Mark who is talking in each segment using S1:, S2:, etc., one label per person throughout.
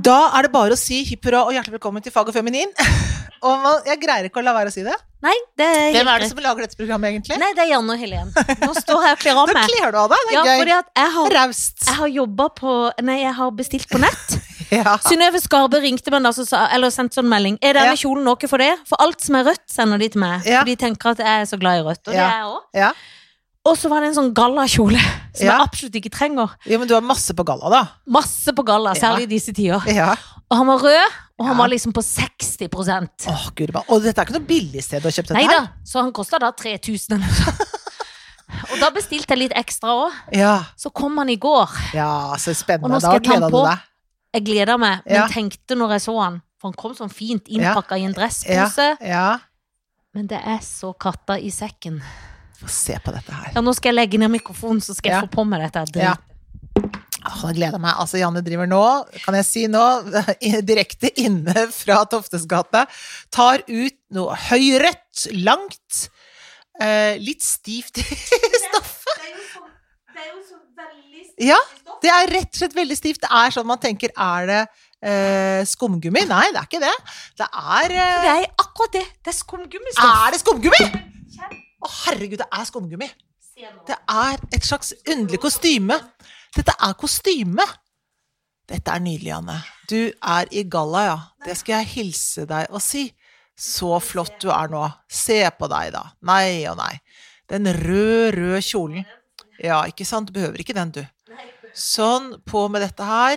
S1: Da er det bare å si hipp hurra og hjertelig velkommen til Fag og feminin. Og man, jeg greier ikke å la være å si det.
S2: Nei, det er
S1: Hvem er det
S2: helt
S1: som lager dette programmet, egentlig?
S2: greit. Nei, det er Janne og Helen. Nå står jeg og kler av
S1: Da
S2: meg.
S1: kler du av deg. Det
S2: Ja,
S1: er
S2: fordi
S1: gøy.
S2: at jeg har,
S1: Raust.
S2: jeg har jobba på Nei, jeg har bestilt på nett.
S1: Ja.
S2: Synnøve Skarbe ringte meg da så sa, eller sendte sånn melding. Er denne
S1: Ja.
S2: kjolen noe for det? For alt som er rødt, sender de til meg.
S1: Ja.
S2: For de tenker at jeg er så glad i rødt. Og det
S1: Ja.
S2: er jeg òg.
S1: Ja.
S2: Og så var det en sånn gallakjole som
S1: Ja.
S2: jeg absolutt ikke trenger.
S1: Jo, men du har masse på galla, da.
S2: Masse på galla,
S1: Ja.
S2: særlig i disse tider.
S1: Ja.
S2: Og han var rød, og han
S1: Ja.
S2: var liksom på 60
S1: Å, guri malla. Og dette er ikke noe billig sted å kjøpe dette
S2: Nei da, så han kosta da 3000 eller noe sånt. Og da bestilte jeg litt ekstra òg.
S1: her? Ja.
S2: Så kom han i går.
S1: ja, så
S2: Og
S1: spennende. Da
S2: nå skal jeg ta den
S1: gleder du
S2: på.
S1: deg.
S2: Jeg gleder meg, men
S1: Ja.
S2: tenkte når jeg så han For han kom sånn fint
S1: Ja.
S2: innpakka i en dresspose.
S1: Ja.
S2: Men det er så katta i sekken.
S1: Få se på dette her.
S2: Ja, nå skal jeg legge ned mikrofonen, så skal jeg
S1: Ja.
S2: få på meg dette. dritet.
S1: Ja. Åh, jeg gleder meg. Altså, Janne driver nå, kan jeg si nå, i- direkte inne fra Toftes gate. Tar ut noe høyrødt, langt, eh, litt stivt i stoffet. Ja, det er rett og slett veldig stivt. Det er sånn man tenker, er det eh, skumgummi? Nei, det er ikke det. Det er eh,
S2: Det er akkurat det. Det er skumgummistoff.
S1: Er det skumgummi?! Å, herregud, det er skumgummi! Det er et slags underlig kostyme. Dette er kostyme. Dette er nydelig, Anne. Du er i galla, ja. Det skal jeg hilse deg og si. Så flott du er nå. Se på deg, da. Nei og nei. Den rød, rød kjolen. Ja, ikke sant? Du behøver ikke den, du. Sånn, på med dette her.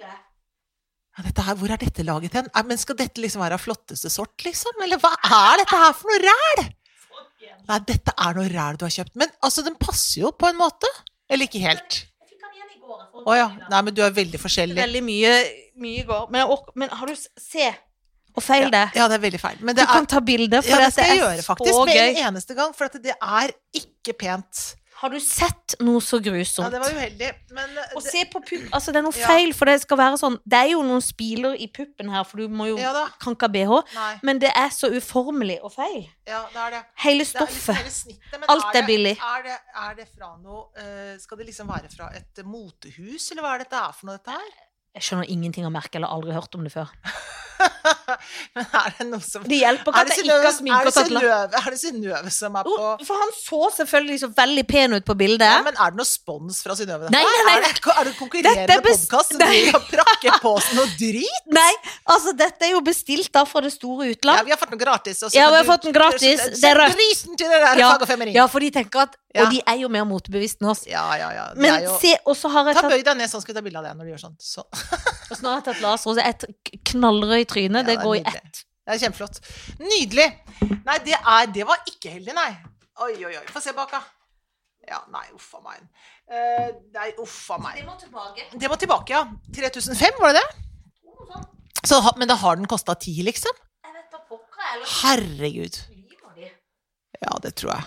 S1: Ja, dette her, hvor er dette laget hen? Nei, Men skal dette liksom være av flotteste sort, liksom? Eller hva er dette her for noe ræl? Nei, dette er noe ræl du har kjøpt. Men altså, den passer jo på en måte. Eller ikke helt. Å ja. Nei, men du er veldig forskjellig.
S2: Veldig mye, mye i går. Men, jeg ork- men har du s- Se og feil det.
S1: Ja, det er veldig feil. Men
S2: Du
S1: det er
S2: kan ta bilde, for
S1: ja, det
S2: at
S1: skal jeg
S2: er
S1: gjøre, faktisk.
S2: så
S1: Med en
S2: gøy.
S1: eneste gang, for at det er ikke pent.
S2: Har du sett noe så
S1: Ja,
S2: grusomt?
S1: det var uheldig, men eh,
S2: og
S1: det,
S2: se på pupp Altså, det er noe
S1: Ja.
S2: feil, for det skal være sånn Det er jo noen spiler i puppen her, for du må jo
S1: Ja da.
S2: kan ikke ha BH.
S1: Nei.
S2: Men det er så uformelig og feil.
S1: Ja, det er det.
S2: Hele
S1: Det er litt
S2: stoffet.
S1: hele snittet, men
S2: Alt er
S1: det-
S2: billig.
S1: Er det, er det fra noe eh, Skal det liksom være fra et eh, motehus, eller hva er dette her for noe, dette her?
S2: Jeg skjønner ingenting av merket, eller har aldri hørt om det før.
S1: Men er det noe som
S2: Det hjelper ikke
S1: Er
S2: at
S1: det
S2: jeg ikke har
S1: Synnøve-
S2: sminke
S1: er
S2: og Oh,
S1: det
S2: tatt lapp.
S1: Synnøve er det Synnøve som er på
S2: Jo, For han så selvfølgelig så veldig pen ut på bildet.
S1: ja, men er det noe spons fra Synnøve? dette
S2: Nei,
S1: her?
S2: nei, nei.
S1: Er det, er det konkurrerende
S2: Dette er bes-
S1: podkast som
S2: Nei.
S1: driver og prakker på oss noe drit?
S2: Nei, altså dette er jo bestilt da fra det store
S1: Ja,
S2: utland.
S1: vi har fått den gratis. og så
S2: Ja,
S1: kan
S2: vi har
S1: du-
S2: fått den gratis.
S1: Send
S2: Det er rødt.
S1: Grisen til det der
S2: Ja.
S1: fag og feminin.
S2: Ja, for de tenker at
S1: Ja.
S2: Og de er jo mer motebevisst enn oss.
S1: ja, ja. ja. Det
S2: Men
S1: er jo...
S2: se, og så har jeg
S1: Ta
S2: tatt,
S1: bøy deg ned, sånn skal vi ta bilde av deg når du gjør sånn. Så.
S2: og så har jeg tatt laser, og så er jeg et knallrød i trynet.
S1: Ja,
S2: det
S1: det er
S2: går i
S1: nydelig.
S2: ett.
S1: Det er kjempeflott. Nydelig. Nei, det, er, det var ikke heldig, nei. Oi, oi, oi. Få se bak, da. Ja, nei, uff a meg. Eh, nei, uff a meg.
S2: må tilbake. Oh, sånn.
S1: Det var tilbake, ja. 3005, var det det? Så, ha- men da har den kosta 10, liksom?
S2: Jeg vet da pokker, ellers
S1: Herregud.
S2: lyver de.
S1: Ja, det tror jeg.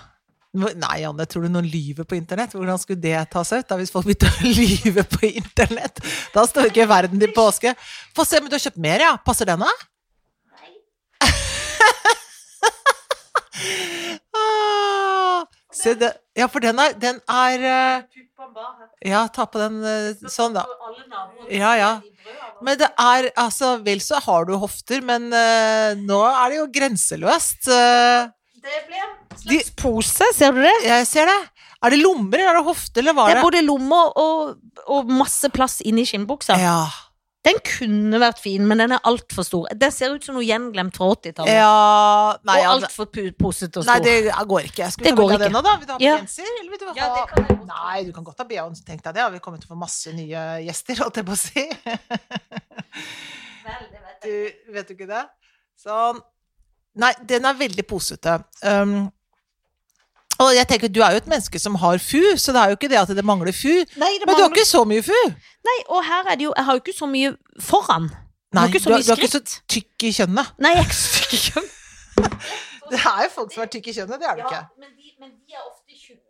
S1: Nå- Nei, Anne, tror du noen lyver på internett? Hvordan skulle det ta seg ut da, hvis folk begynte å lyve på internett? Da står ikke verden til påske. Få se, men du har kjøpt mer, ja. Passer den, da?
S2: Nei.
S1: Ah, se det. Ja, for den er, den er eh,
S2: Puppa bare.
S1: Ja, ta på den eh, sånn, da.
S2: Alle naboer
S1: Ja, ja. Men det er altså Vel så har du hofter, men eh, nå er det jo grenseløst. Eh,
S2: Det ble en
S1: de,
S2: pose, ser du det?
S1: jeg ser det. Er det lommer, eller er det hofte, eller hva er
S2: Det er
S1: det?
S2: både lommer og, og masse plass inni skinnbuksa.
S1: Ja,
S2: Den kunne vært fin, men den er altfor stor. Den ser ut som noe gjenglemt fra 80-tallet.
S1: ja Nei,
S2: og
S1: ja,
S2: altfor posete og
S1: nei
S2: stor.
S1: det går ikke. Skal vi
S2: Det
S1: ta
S2: går
S1: bilde av den nå,
S2: ikke.
S1: da? Vil du ha på
S2: Ja.
S1: genser, eller vil du ha
S2: Ja, det kan jeg godt ta.
S1: Nei, du kan godt ha BH-en, tenk deg det. Ja, Vi kommer til å få masse nye gjester, holdt jeg på å si. Du, vet du ikke det? Sånn. Nei, den er veldig posete. Um, og jeg tenker, du er jo et menneske som har fu, så det er jo ikke det at det mangler fu.
S2: Nei, det
S1: Men du har
S2: mangler-
S1: ikke så mye fu!
S2: Nei, og her er det jo Jeg har jo ikke så mye foran. Jeg
S1: Nei,
S2: har
S1: du,
S2: ikke så
S1: er-
S2: mye
S1: du er ikke så
S2: skritt.
S1: tykk i kjønnet.
S2: Nei, jeg er ikke så tykk i kjønn.
S1: Det er jo folk som er tykk i kjønnet, det er det ikke.
S2: men de, er ofte tjukke.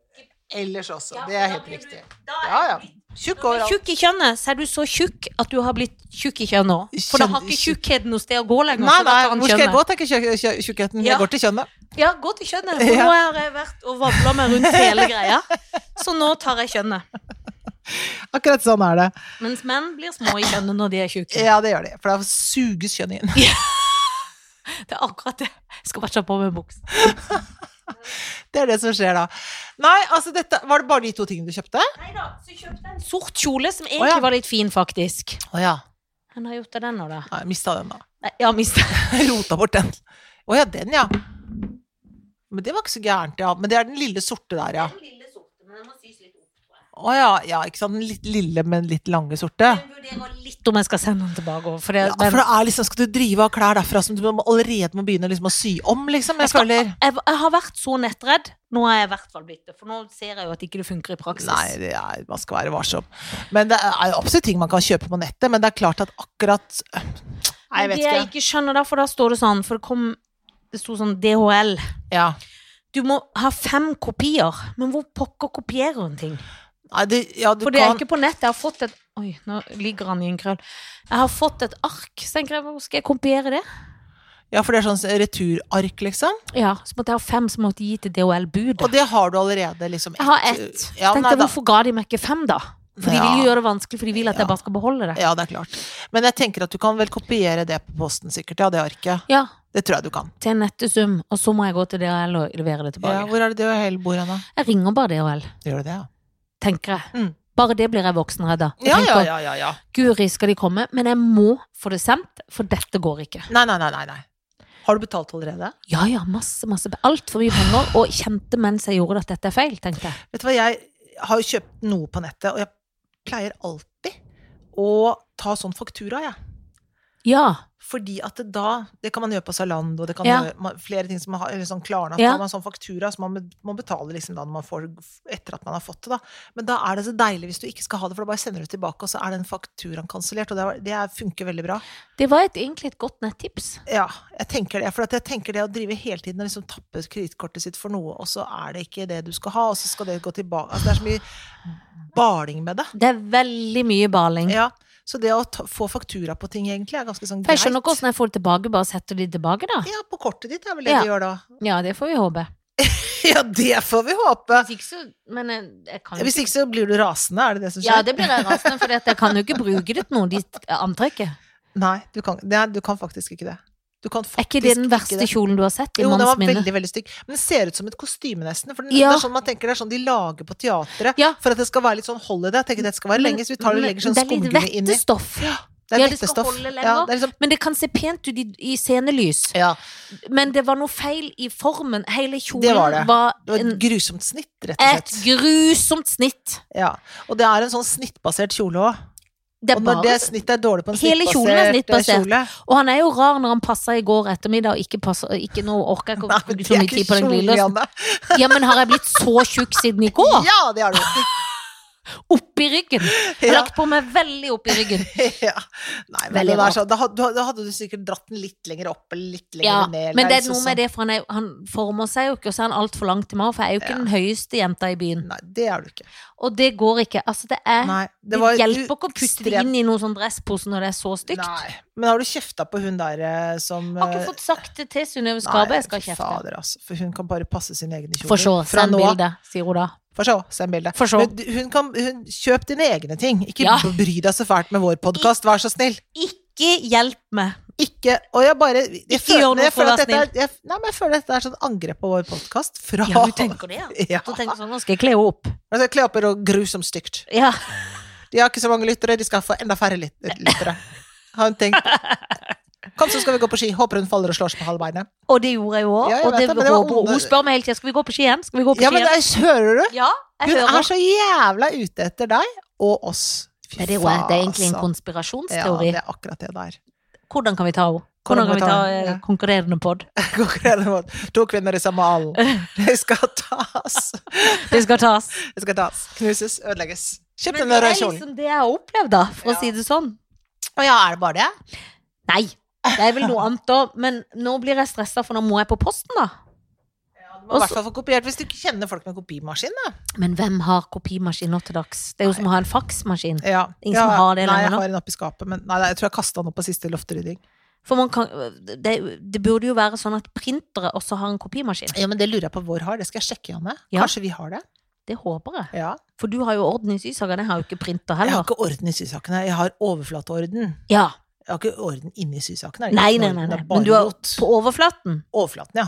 S1: Ellers også. Det er helt riktig. Ja, ja. Tjukk
S2: Når du er
S1: overalt.
S2: tjukk i kjønnet, så er du så tjukk at du har blitt tjukk i kjønnet òg. For da har
S1: Kjønn-
S2: ikke tjukkheten noe sted å gå lenger.
S1: Nei,
S2: så da
S1: nei,
S2: tar han
S1: hvor skal jeg
S2: kjønnet.
S1: gå, tenker tjukk- tjukk- tjukkheten.
S2: Ja.
S1: Jeg går til kjønnet.
S2: Ja, gå til kjønnet. For
S1: Ja.
S2: nå har jeg vært og vabla meg rundt hele greia. Så nå tar jeg kjønnet.
S1: Akkurat sånn er det.
S2: Mens menn blir små i kjønnet når de er tjukke.
S1: Ja, det gjør de. For da suges kjønnet inn.
S2: Det er akkurat det. Jeg skal bare ta på meg buksa.
S1: Det er det som skjer da. Nei, altså dette Var det bare de to tingene du kjøpte?
S2: Nei da, så kjøpte jeg en sort kjole, som egentlig
S1: Å, ja.
S2: var litt fin, faktisk.
S1: Å ja.
S2: Han har gjort av den nå, da.
S1: Nei, mista den, da.
S2: Nei, Ja, mista
S1: Rota bort den. Å ja, den, ja. Men det var ikke så gærent, ja. Men det er den lille sorte der, ja.
S2: lille sorte, men den må sys litt opp.
S1: Å ja, ja, ikke sant. Den litt lille, men litt lange sorte.
S2: Jeg vurderer litt om jeg skal sende den tilbake over, for det,
S1: Ja, for det er liksom, Skal du drive av klær derfra som du må- allerede må begynne liksom å sy om, liksom? Jeg føler
S2: jeg, jeg har vært så nettredd. Nå har jeg i hvert fall blitt det, for nå ser jeg jo at ikke det funker i praksis.
S1: Nei, det er, man skal være varsom. Men det er jo absolutt ting man kan kjøpe på nettet, men det er klart at akkurat øh, Nei, jeg vet
S2: Men det jeg
S1: ikke.
S2: ikke skjønner, da, for da står det sånn, for det kom det sto sånn DHL.
S1: Ja.
S2: Du må ha fem kopier, men hvor pokker kopierer hun ting?
S1: Nei, det, ja, du
S2: For det er
S1: kan
S2: ikke på nett. Jeg har fått et Oi, nå ligger han i en krøll. Jeg har fått et ark. Så tenker jeg, hvor skal jeg kopiere det?
S1: Ja, for det er sånn returark, liksom.
S2: Ja, Så måtte jeg ha fem som måtte gi til DHL-budet.
S1: Og det har du allerede, liksom.
S2: Jeg har
S1: ett-
S2: ett.
S1: Ja,
S2: tenkte
S1: nei,
S2: jeg,
S1: da,
S2: hvorfor ga de meg ikke fem, da? For de vil
S1: Ja.
S2: jo gjøre det vanskelig, for de vil at
S1: Ja.
S2: jeg bare skal beholde det.
S1: ja, det er klart. Men jeg tenker at du kan vel kopiere det på posten, sikkert. Ja, det arket.
S2: Ja,
S1: Det tror jeg du kan.
S2: til en nettesum, og så må jeg gå til DHL og levere det
S1: Ja,
S2: tilbake.
S1: hvor er det DHL bor hen, da?
S2: Jeg ringer bare DHL,
S1: Gjør du det, ja?
S2: tenker jeg.
S1: Mm.
S2: Bare det blir jeg voksenredd av. Jeg
S1: Ja, ja,
S2: tenker,
S1: ja, ja, ja.
S2: Guri, skal de komme? Men jeg må få det sendt, for dette går ikke.
S1: Nei, nei, nei, nei. nei. Har du betalt allerede?
S2: Ja, ja, masse, masse. Altfor mye penger. Og kjente mens jeg gjorde at dette er feil, tenkte jeg.
S1: Vet du hva, jeg har jo kjøpt noe på nettet, og jeg pleier alltid å ta sånn faktura, jeg.
S2: Ja.
S1: Fordi at det da Det kan man gjøre på Zalando, det kan
S2: Ja.
S1: gjøre man, flere ting som man har eller sånn Klarna.
S2: Ja.
S1: Ja. Man har sånn faktura som man be- må betale liksom da når man får, etter at man har fått det. da. Men da er det så deilig hvis du ikke skal ha det, for da bare sender du tilbake, og så er den fakturaen kansellert. Og det, er- det er- funker veldig bra.
S2: Det var et, egentlig et godt nettips.
S1: Ja, jeg tenker det. For at jeg tenker det å drive hele tiden og liksom tappe kredittkortet sitt for noe, og så er det ikke det du skal ha, og så skal det gå tilbake altså, Det er så mye baling med det.
S2: Det er veldig mye baling.
S1: Ja, Så det å ta, få faktura på ting egentlig er ganske sånn
S2: For
S1: greit.
S2: jeg skjønner ikke hvordan jeg får det tilbake. Bare setter de tilbake, da.
S1: Ja, på kortet ditt er vel det
S2: Ja.
S1: du gjør da.
S2: Ja, det får vi håpe.
S1: Ja, det får vi håpe.
S2: Hvis ikke så Men jeg, jeg kan jo
S1: Hvis
S2: ikke
S1: ikke så blir du rasende, er det det som skjer?
S2: Ja, det blir jeg rasende, for jeg kan jo ikke bruke det til noe, de antrekket.
S1: Nei, du kan, nei, du kan faktisk ikke det. Du kan
S2: Er
S1: faktisk
S2: ikke det den verste kjolen du har sett i
S1: Jo, den
S2: manns
S1: var
S2: minne?
S1: veldig veldig stygg. Men den ser ut som et kostyme, nesten. For den,
S2: Ja.
S1: det er sånn man tenker det er sånn de lager på teatret
S2: Ja.
S1: for at det skal være litt sånn hold i det. Jeg tenker det skal være lenge, så vi tar det og legger sånn
S2: det er litt
S1: skumgummi inni.
S2: vettestoff.
S1: Det
S2: Ja,
S1: er
S2: det skal
S1: vettestoff.
S2: holde lenger.
S1: Ja, det er liksom
S2: Men det kan se pent ut i, i scenelys.
S1: ja,
S2: Men det var noe feil i formen. Hele kjolen
S1: Det var det. det var
S2: en,
S1: et grusomt snitt, rett og
S2: et
S1: slett.
S2: grusomt snitt.
S1: Ja. Og det er en sånn snittbasert kjole òg.
S2: Det er
S1: Og når det
S2: bare,
S1: snittet er dårlig på en
S2: Hele
S1: snittbasert,
S2: kjolen er snittbasert.
S1: eh, kjole
S2: og han er jo rar når han passa i går ettermiddag og ikke passer ikke, Nå orker jeg ikke
S1: Nei,
S2: å
S1: men
S2: bruke
S1: det
S2: så
S1: er
S2: mye tid på
S1: ikke
S2: den
S1: kjole,
S2: glidelåsen.
S1: Janne.
S2: Ja, men har jeg blitt så tjukk siden i går?
S1: Ja, det har du.
S2: Oppi ryggen. Jeg har
S1: Ja.
S2: lagt på meg veldig oppi ryggen.
S1: ja. Nei, men
S2: Veldig
S1: den er
S2: rart.
S1: sånn- da, had- da da hadde du sikkert dratt den litt lenger opp eller liksom sånn. litt lenger
S2: Ja,
S1: ned.
S2: men det er noe med det, for han, er, han former seg jo ikke, og så er han altfor langt til meg, for jeg er jo ikke
S1: Ja.
S2: den høyeste jenta i byen.
S1: Nei, det er du ikke.
S2: Og det går ikke. Altså, det er
S1: Nei,
S2: Det,
S1: var
S2: hjelper ikke å putte det
S1: ekstremt-
S2: inn i noen sånn dresspose når det er så stygt.
S1: Nei. Men har du kjefta på hun der eh, som
S2: Jeg har ikke fått sagt det til Synnøve Skarberg, jeg skal
S1: Nei,
S2: kjefte.
S1: Fader, altså. For hun kan bare passe sine egne kjoler.
S2: Få se,
S1: Fra
S2: send
S1: nå av-
S2: bilde, sier hun da.
S1: Få se, send bilde.
S2: Få se.
S1: Men du- Hun kan, hun, kjøp dine egne ting. Ikke
S2: Ja.
S1: bry deg så fælt med vår podkast, vær så snill.
S2: Ikke hjelp meg.
S1: Ikke Og jeg bare jeg
S2: gjør
S1: føler,
S2: noe
S1: jeg
S2: for å
S1: føler at
S2: være
S1: dette er, jeg, Nei, men jeg føler dette er sånn angrep på vår podkast fra
S2: Ja, du tenker det, ja.
S1: Ja.
S2: Du tenker sånn, nå skal jeg kle henne opp.
S1: Altså, Kle opp er noe grusomt stygt.
S2: Ja.
S1: De har ikke så mange lyttere, de skal få enda færre lyt- lyttere. Har hun tenkt. Kom, så skal vi gå på ski. Håper hun faller og slår seg på halve beinet.
S2: Og det gjorde jeg jo òg.
S1: Ja, jeg
S2: og
S1: vet
S2: det,
S1: det, men det var
S2: håper hun.
S1: onde-
S2: Hun spør meg hele tida skal vi gå på ski igjen. Skal vi gå på
S1: Ja,
S2: ski
S1: men
S2: igjen?
S1: det er, hører du?
S2: Ja, jeg
S1: Hun
S2: hører.
S1: er så jævla ute etter deg og oss. Fy
S2: Men det, er jo, det er egentlig en
S1: faen, altså.
S2: konspirasjonsteori.
S1: Ja, det er akkurat det der.
S2: Hvordan kan vi ta henne? Hvordan kan vi ta eh,
S1: Ja.
S2: konkurrerende pod?
S1: Konkurrerende mot to kvinner i samme alder. Det skal tas.
S2: Det skal tas.
S1: Det skal tas. Knuses, ødelegges. Kjøp
S2: Men
S1: den
S2: det er
S1: røde kjolen.
S2: liksom det jeg har opplevd, da, for
S1: Ja.
S2: å si det sånn.
S1: Å ja, er det bare det?
S2: Nei, det er vel noe annet da. Men nå blir jeg stressa, for nå må jeg på posten, da.
S1: Ja, du må
S2: Og
S1: i
S2: så-
S1: hvert fall få kopiert hvis du ikke kjenner folk med kopimaskin, da.
S2: Men hvem har kopimaskin nå til dags? Det er jo som å ha en faksmaskin.
S1: Ja.
S2: Ingen som
S1: ja,
S2: har det
S1: nei,
S2: lenger
S1: jeg
S2: nå.
S1: har en oppi skapet, men nei, nei, jeg tror jeg kasta den opp på siste lofterydding.
S2: For man kan, det, det burde jo være sånn at printere også har en kopimaskin.
S1: Ja, men det lurer jeg på hvor har. Det skal jeg sjekke, Janne.
S2: Ja.
S1: Kanskje vi har det?
S2: Det håper jeg.
S1: Ja.
S2: For du har jo orden i sysagen, jeg har jo ikke printer
S1: Jeg har
S2: heller.
S1: ikke orden i sysakene. Jeg har overflateorden.
S2: Ja,
S1: Jeg har ikke orden inni sysakene.
S2: Nei, nei, nei. nei. Men du har på overflaten.
S1: Overflaten, ja.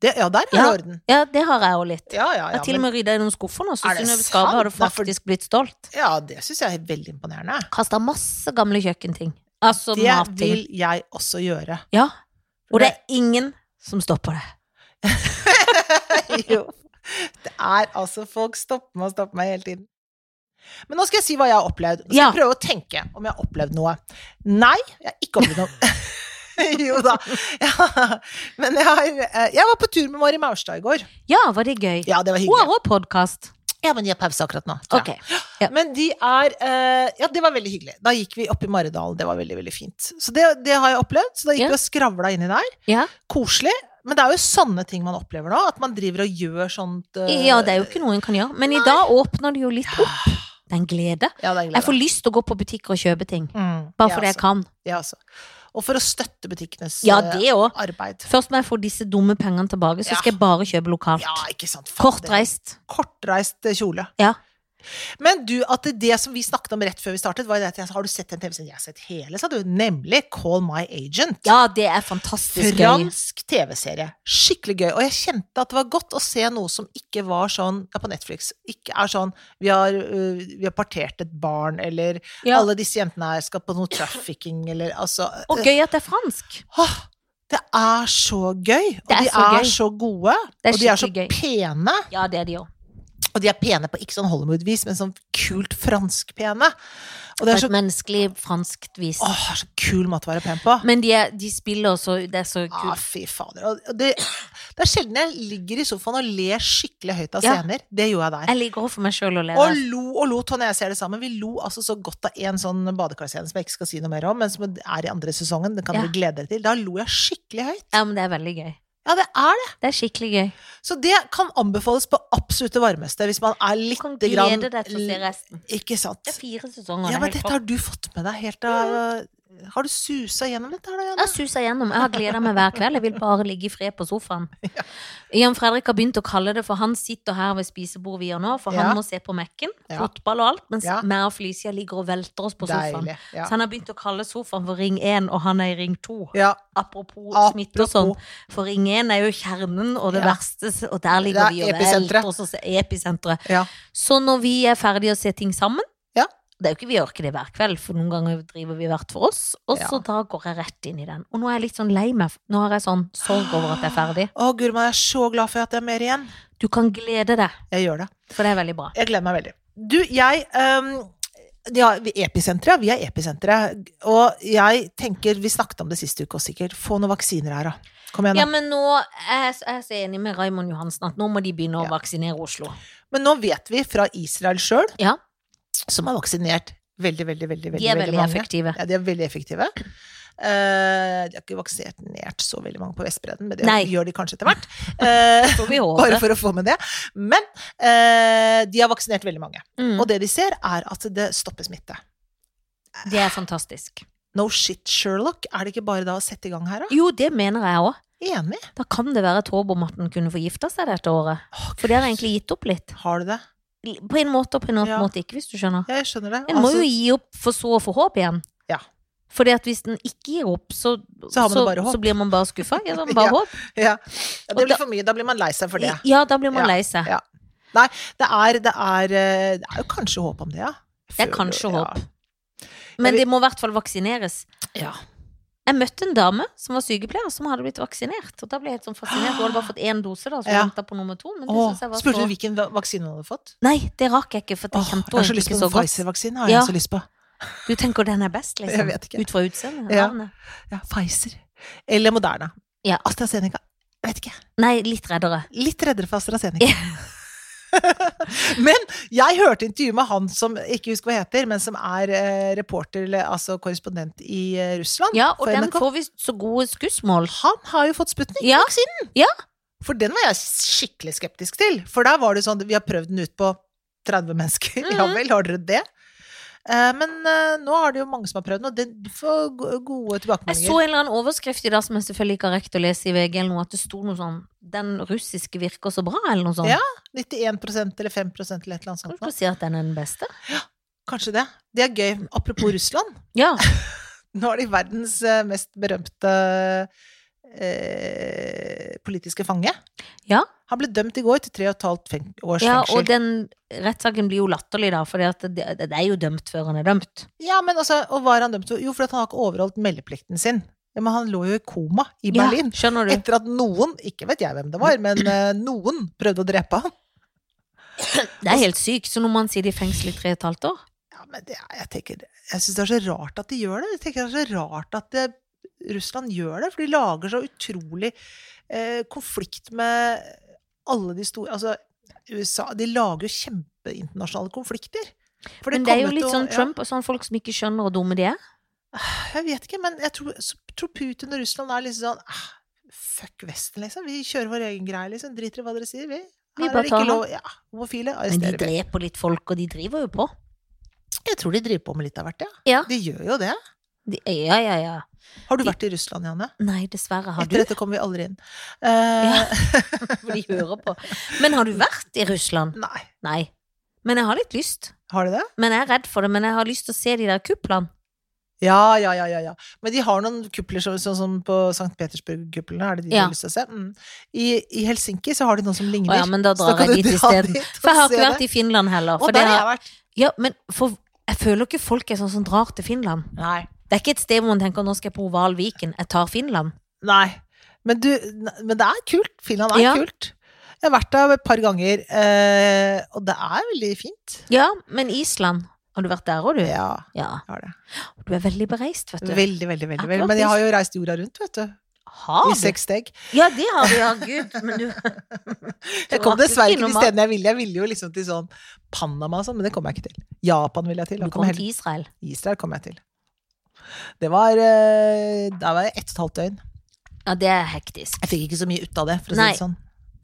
S1: Det, ja, der er
S2: Ja.
S1: det orden.
S2: Ja, det har jeg òg litt.
S1: Ja, ja,
S2: Jeg
S1: ja.
S2: har til og
S1: Men,
S2: med rydda i noen skuffer nå, så
S1: Er det
S2: Synnøve Skarbø har du
S1: sant? Nei, for-
S2: faktisk blitt stolt.
S1: ja, det syns jeg er veldig imponerende.
S2: Kasta masse gamle kjøkkenting. Altså
S1: Det
S2: matting.
S1: vil jeg også gjøre.
S2: Ja. Og det er ingen som stopper det.
S1: jo. Det er altså Folk stopper meg og stopper meg hele tiden. Men nå skal jeg si hva jeg har opplevd. Nå skal
S2: Ja.
S1: jeg prøve å tenke om jeg har opplevd noe. Nei, jeg har ikke opplevd noe. jo da. Ja. Men jeg, har, eh, jeg var på tur med Mari Maurstad i går.
S2: Ja, var det gøy?
S1: Ja, det var
S2: Hun
S1: hyggelig.
S2: har òg podkast.
S1: Ja, men de har pause akkurat nå. tror jeg.
S2: Ok. Ja.
S1: Men de er eh, Ja, det var veldig hyggelig. Da gikk vi opp i Maridalen. Det var veldig, veldig fint. Så det, det har jeg opplevd. Så da gikk
S2: Ja.
S1: vi og skravla inni der.
S2: Ja.
S1: Koselig. Men det er jo sånne ting man opplever nå. At man driver og gjør sånt eh,
S2: ja, det er jo ikke noe en kan gjøre. Men i dag åpner det jo litt opp. Det er en glede.
S1: Ja, det er glede.
S2: Jeg får lyst til å gå på butikker og kjøpe ting.
S1: Mm,
S2: Bare fordi jeg
S1: også.
S2: kan.
S1: Jeg også. altså. Og for å støtte butikkenes
S2: Ja,
S1: eh,
S2: det òg.
S1: arbeid.
S2: Først må jeg få disse dumme pengene tilbake, så
S1: Ja.
S2: skal jeg bare kjøpe lokalt.
S1: Ja, ikke sant. Fader.
S2: Kortreist.
S1: Kortreist eh, kjole.
S2: Ja.
S1: Men du, at det- det som vi snakket om rett før vi startet, var det at jeg sa har du sett den TV-serien? Jeg har sett hele, sa du. Nemlig Call My Agent.
S2: Ja, det er fantastisk gøy.
S1: Fransk TV-serie. Skikkelig gøy. Og jeg kjente at det var godt å se noe som ikke var sånn ja, på Netflix. Ikke er sånn vi har, øh, vi har partert et barn, eller
S2: Ja.
S1: alle disse jentene her skal på noe trafficking, eller altså
S2: Og gøy at det er fransk.
S1: Åh, det er så gøy! Og
S2: Det er
S1: de
S2: så
S1: er
S2: gøy.
S1: så gode.
S2: Det
S1: Og de
S2: er
S1: er så
S2: skikkelig gøy.
S1: pene.
S2: Ja, det er de òg.
S1: Og de er pene på ikke sånn Hollywood-vis, men sånn kult fransk-pene. Og
S2: På
S1: det er så,
S2: et menneskelig, franskt vis.
S1: åh, så kul måte å være pen på.
S2: Men de, er, de spiller også Det er så
S1: Ja,
S2: kult.
S1: fy fader. Og og det, det er sjelden jeg ligger i sofaen og ler skikkelig høyt av
S2: Ja.
S1: scener. Det gjorde jeg der.
S2: Jeg liker å for meg sjøl å le.
S1: Og lo og lo, Tonje og jeg ser det sammen. Vi lo altså så godt av en sånn badekarscene som jeg ikke skal si noe mer om, men som er i andre sesongen. Den kan
S2: Ja.
S1: du glede deg til. Da lo jeg skikkelig høyt.
S2: Ja, men det er veldig gøy.
S1: Ja, det er det.
S2: Det er skikkelig gøy.
S1: Så det kan anbefales på absolutt det varmeste, hvis man er
S2: Du kan
S1: lite grann
S2: glede deg til å se resten.
S1: Ikke
S2: Det
S1: sant.
S2: er fire sesonger.
S1: Ja,
S2: det
S1: men
S2: er helt
S1: dette har du fått med deg helt av Har du susa gjennom dette her, da,
S2: Jeg
S1: Janne?
S2: suser gjennom. Jeg har gleda meg hver kveld. Jeg vil bare ligge i fred på sofaen. Jan Fredrik har begynt å kalle det, for han sitter her ved spisebordet vi gjør nå, for
S1: Ja.
S2: han må se på Mekken,
S1: Ja.
S2: fotball og alt, mens
S1: Ja.
S2: meg og Felicia ligger og velter oss på sofaen.
S1: Deilig. Ja.
S2: Så han har begynt å kalle sofaen for Ring 1, og han er i Ring 2.
S1: ja.
S2: Apropos, smitte og
S1: Apropos.
S2: sånn. For Ring 1 er jo kjernen og det
S1: Ja.
S2: verste, og der
S1: Det
S2: ligger
S1: er
S2: vi og
S1: episenteret.
S2: velter oss og ser episenteret.
S1: Ja.
S2: Så når vi er ferdige å se ting sammen
S1: Ja.
S2: Det er jo ikke, Vi gjør ikke det hver kveld, for noen ganger driver vi hvert for oss. Og så
S1: Ja.
S2: da går jeg rett inn i den. Og nå er jeg litt sånn lei meg. Nå har jeg sånn sorg over at jeg er ferdig.
S1: Å, guri meg, jeg er så glad for at det er mer igjen.
S2: Du kan glede deg,
S1: Jeg gjør det.
S2: for det er veldig bra.
S1: Jeg gleder meg veldig. Du, jeg ehm, ja, vi- Episenteret, vi er episenteret. Og jeg tenker, vi snakket om det siste uke også sikkert, få noen vaksiner her, da. Kom igjen, da.
S2: Ja, men nå er jeg så- jeg er så enig med Raymond Johansen at nå må de begynne å
S1: Ja.
S2: vaksinere Oslo.
S1: Men nå vet vi fra Israel sjøl,
S2: Ja.
S1: som har vaksinert veldig, veldig, veldig, veldig,
S2: De er veldig
S1: mange.
S2: effektive.
S1: Ja, de er veldig effektive. Eh, de har ikke vaksinert så veldig mange på Vestbredden, men det
S2: Nei.
S1: gjør de kanskje etter hvert. Eh,
S2: Får vi håpe.
S1: bare for å få med det. Men eh, de har vaksinert veldig mange.
S2: Mm,
S1: Og det de ser, er at det stopper smitte.
S2: det er fantastisk.
S1: No shit, Sherlock. Er det ikke bare da å sette i gang her, da?
S2: Jo, det mener jeg òg.
S1: Enig.
S2: Da kan det være at Håbomatten kunne forgifta seg dette året.
S1: Å,
S2: For det har jeg egentlig gitt opp litt.
S1: Har du det?
S2: På en måte og på en annen
S1: Ja.
S2: måte ikke, hvis du skjønner.
S1: Ja, jeg skjønner det.
S2: En må
S1: Altså,
S2: jo gi opp for så å få håp igjen.
S1: Ja.
S2: Fordi at hvis den ikke gir opp, så,
S1: Så har man bare håp.
S2: så blir man bare skuffa. Ja, så har man bare
S1: Ja,
S2: håp.
S1: ja. Ja,
S2: Og
S1: det blir
S2: da-
S1: for mye. Da blir man lei seg for det.
S2: Ja, da blir man
S1: Ja,
S2: lei seg.
S1: ja. Det er, det er, eh, det er jo kanskje håp om det, ja.
S2: Det er kanskje
S1: ja.
S2: håp. Men
S1: Jeg vil-
S2: det må i hvert fall vaksineres.
S1: Ja.
S2: Jeg møtte en dame som var sykepleier, som hadde blitt vaksinert. Og da ble jeg helt sånn fascinert. Hun hadde bare fått én dose, da, så hun
S1: Ja.
S2: venta på nummer to. Men det
S1: Åh,
S2: synes jeg var
S1: spurte
S2: så
S1: du hvilken va- vaksine du hadde fått?
S2: Nei, det rakk jeg ikke, for det
S1: Åh, jeg har
S2: kjente hun
S1: så
S2: egentlig
S1: lyst
S2: ikke
S1: på
S2: så
S1: en
S2: godt.
S1: Pfizer-vaksine. Har jeg
S2: Ja.
S1: så lyst på.
S2: Du tenker den er best, liksom?
S1: Jeg vet ikke.
S2: Ut fra utseendet?
S1: Ja.
S2: navnet?
S1: Ja, Pfizer. Eller Moderna.
S2: Ja.
S1: AstraZeneca. Jeg vet ikke.
S2: Nei, litt reddere.
S1: Litt reddere for AstraZeneca. men jeg hørte intervju med han som jeg ikke husker hva heter, men som er eh, reporter, eller altså korrespondent i eh, Russland.
S2: Ja, og
S1: for
S2: den
S1: NRK.
S2: får vi så gode skussmål.
S1: Han har jo fått Sputnik.
S2: Ja,
S1: For den var jeg skikkelig
S2: Mhm.
S1: skeptisk til. For der var det sånn, vi har prøvd den ut på 30 mennesker. Ja vel, har dere det? Eh, men eh, nå har det jo mange som har prøvd den, og det- du får go- gode
S2: Jeg så
S1: tilbakemeldinger.
S2: en eller annen overskrift i dag som jeg selvfølgelig ikke har rekt å lese i VG, eller noe, at det sto noe sånn 'Den russiske virker så bra', eller noe sånt.
S1: Ja. 91 eller 5 eller et eller annet
S2: Kan
S1: sånt.
S2: du
S1: nå.
S2: ikke si at den er den beste?
S1: Kanskje det. Det er gøy. Apropos Russland.
S2: Ja.
S1: Nå er de verdens eh, mest berømte eh, politiske fange.
S2: Ja.
S1: Han ble dømt i går til tre og et halvt feng- års
S2: ja
S1: fengsel.
S2: og den rettssaken blir jo latterlig, da, for det, det er jo dømt før han er dømt.
S1: Ja, men altså, og hva er han dømt for? Jo, fordi at han har ikke overholdt meldeplikten sin. Ja, men han lå jo i koma i Berlin.
S2: Ja, skjønner du?
S1: Etter at noen, ikke vet jeg hvem det var, men eh, noen prøvde å drepe han.
S2: Det er helt sykt. Så når man sitter i fengsel i tre og et halvt år
S1: Ja, men det, er- jeg tenker, jeg syns det er så rart at de gjør det. Jeg tenker det er så rart at eh, Russland gjør det, for de lager så utrolig eh, konflikt med alle de store Altså, USA De lager jo kjempeinternasjonale konflikter. For
S2: Men det er jo
S1: kommer
S2: litt
S1: til å-
S2: sånn
S1: ja.
S2: Trump og sånn folk som ikke skjønner hvor dumme de er.
S1: Jeg vet ikke, men jeg tror, så, tror Putin og Russland er liksom sånn ah, Fuck Vesten, liksom. Vi kjører vår egen greie, liksom. Driter i hva dere sier, vi.
S2: Vi
S1: Her
S2: bare
S1: er det
S2: tar
S1: ikke lov ja, Homofile
S2: Men de
S1: arresterer vi.
S2: dreper litt folk, og de driver jo på.
S1: Jeg tror de driver på med litt av hvert, ja.
S2: Ja.
S1: De gjør jo det.
S2: De, ja, ja, ja.
S1: Har du
S2: De-
S1: vært i Russland, Janne?
S2: Nei, dessverre. Har du?
S1: Etter dette kommer vi aldri inn. Eh,
S2: For de hører på. Men har du vært i Russland?
S1: Nei.
S2: Nei. Men jeg har litt lyst.
S1: Har de det?
S2: Men jeg er redd for det. Men jeg har lyst til å se de der kuplene.
S1: Ja, ja, ja, ja, ja. Men de har noen kupler, så- sånn som på St. Petersburg-kuplene. Er det de du
S2: Ja.
S1: har lyst til å se? Mm. I, I Helsinki så har de noen som ligner.
S2: Å ja, men da
S1: Så da
S2: drar
S1: kan
S2: jeg
S1: du
S2: dit
S1: dra
S2: isteden.
S1: dit og
S2: For jeg har
S1: se
S2: ikke vært
S1: det.
S2: i Finland heller.
S1: Og
S2: For
S1: der
S2: det
S1: har
S2: har,
S1: jeg vært.
S2: ja, men for jeg føler ikke folk er sånn som drar til Finland.
S1: Nei.
S2: Det er ikke et sted hvor man tenker 'nå skal jeg på Oval Viken', jeg tar Finland.
S1: Nei. Men, du, men det er kult. Finland er
S2: Ja.
S1: kult. Jeg har vært der et par ganger, eh, og det er veldig fint.
S2: Ja, men Island. Har du vært der òg, du?
S1: Ja,
S2: Ja.
S1: jeg har det.
S2: Du er veldig bereist, vet du.
S1: Veldig, veldig, veldig.
S2: Akkurat
S1: veldig. Men jeg har
S2: det.
S1: jo reist jorda rundt, vet du. I
S2: Har du?
S1: seks steg.
S2: Ja, det har du, ja. Gud. Men du
S1: Jeg kom
S2: rakk jo
S1: dessverre ikke
S2: innom
S1: de
S2: alt.
S1: stedene jeg ville. Jeg ville jo liksom til sånn Panama og sånn, men det kom jeg ikke til. Japan ville jeg til.
S2: Du
S1: Da kom
S2: kom
S1: jeg
S2: til
S1: heller.
S2: Israel.
S1: Israel kom jeg til. Det var eh, Der var jeg ett og et halvt døgn.
S2: Ja, det er hektisk.
S1: Jeg fikk ikke så mye ut av det, for å si
S2: Nei.
S1: det sånn.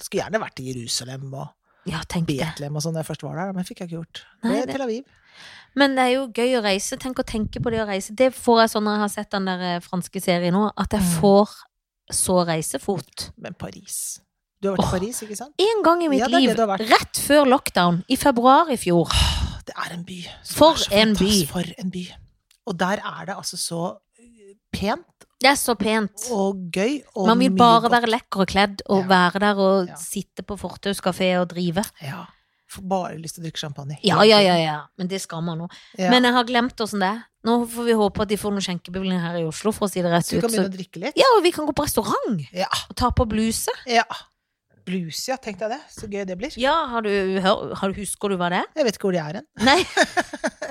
S1: Skulle gjerne vært i Jerusalem og
S2: Ja, tenk det.
S1: Betlehem og sånn da jeg først var der, men fikk jeg ikke gjort. Det
S2: Nei,
S1: er
S2: det-
S1: Tel Aviv.
S2: Men det er jo gøy å reise. Tenk å tenke på det å reise. Det får jeg sånn når jeg har sett den der eh, franske serien nå, at jeg
S1: Mm.
S2: får så reisefot.
S1: Men Paris Du har vært
S2: Åh.
S1: i Paris, ikke sant?
S2: En gang i mitt
S1: Ja, det er det
S2: liv,
S1: du har vært.
S2: rett før lockdown, i februar i fjor.
S1: Det er en by. som
S2: For
S1: er så
S2: en by.
S1: fantastisk. For en by. Og der er det altså så eh, pent
S2: Det er så pent.
S1: og gøy og
S2: Man vil
S1: mye
S2: bare
S1: godt.
S2: være lekker og kledd og
S1: Ja.
S2: være der og
S1: Ja.
S2: sitte på fortauskafé og drive.
S1: Ja. Får bare lyst til å drikke champagne.
S2: Ja, ja, ja, ja. Men det skal man nå.
S1: Ja.
S2: Men jeg har glemt åssen det er. Nå får vi håpe at de får noen skjenkebevilgninger her i Oslo, for å si det rett
S1: så vi
S2: ut.
S1: kan
S2: Så,
S1: begynne å drikke litt?
S2: ja, og vi kan gå på restaurant
S1: Ja.
S2: og ta på bluse.
S1: ja. Blues, ja. Tenk deg det. Så gøy det blir.
S2: Ja, har du, hør- har, husker du hva det er?
S1: Jeg vet ikke hvor de er hen.
S2: Nei.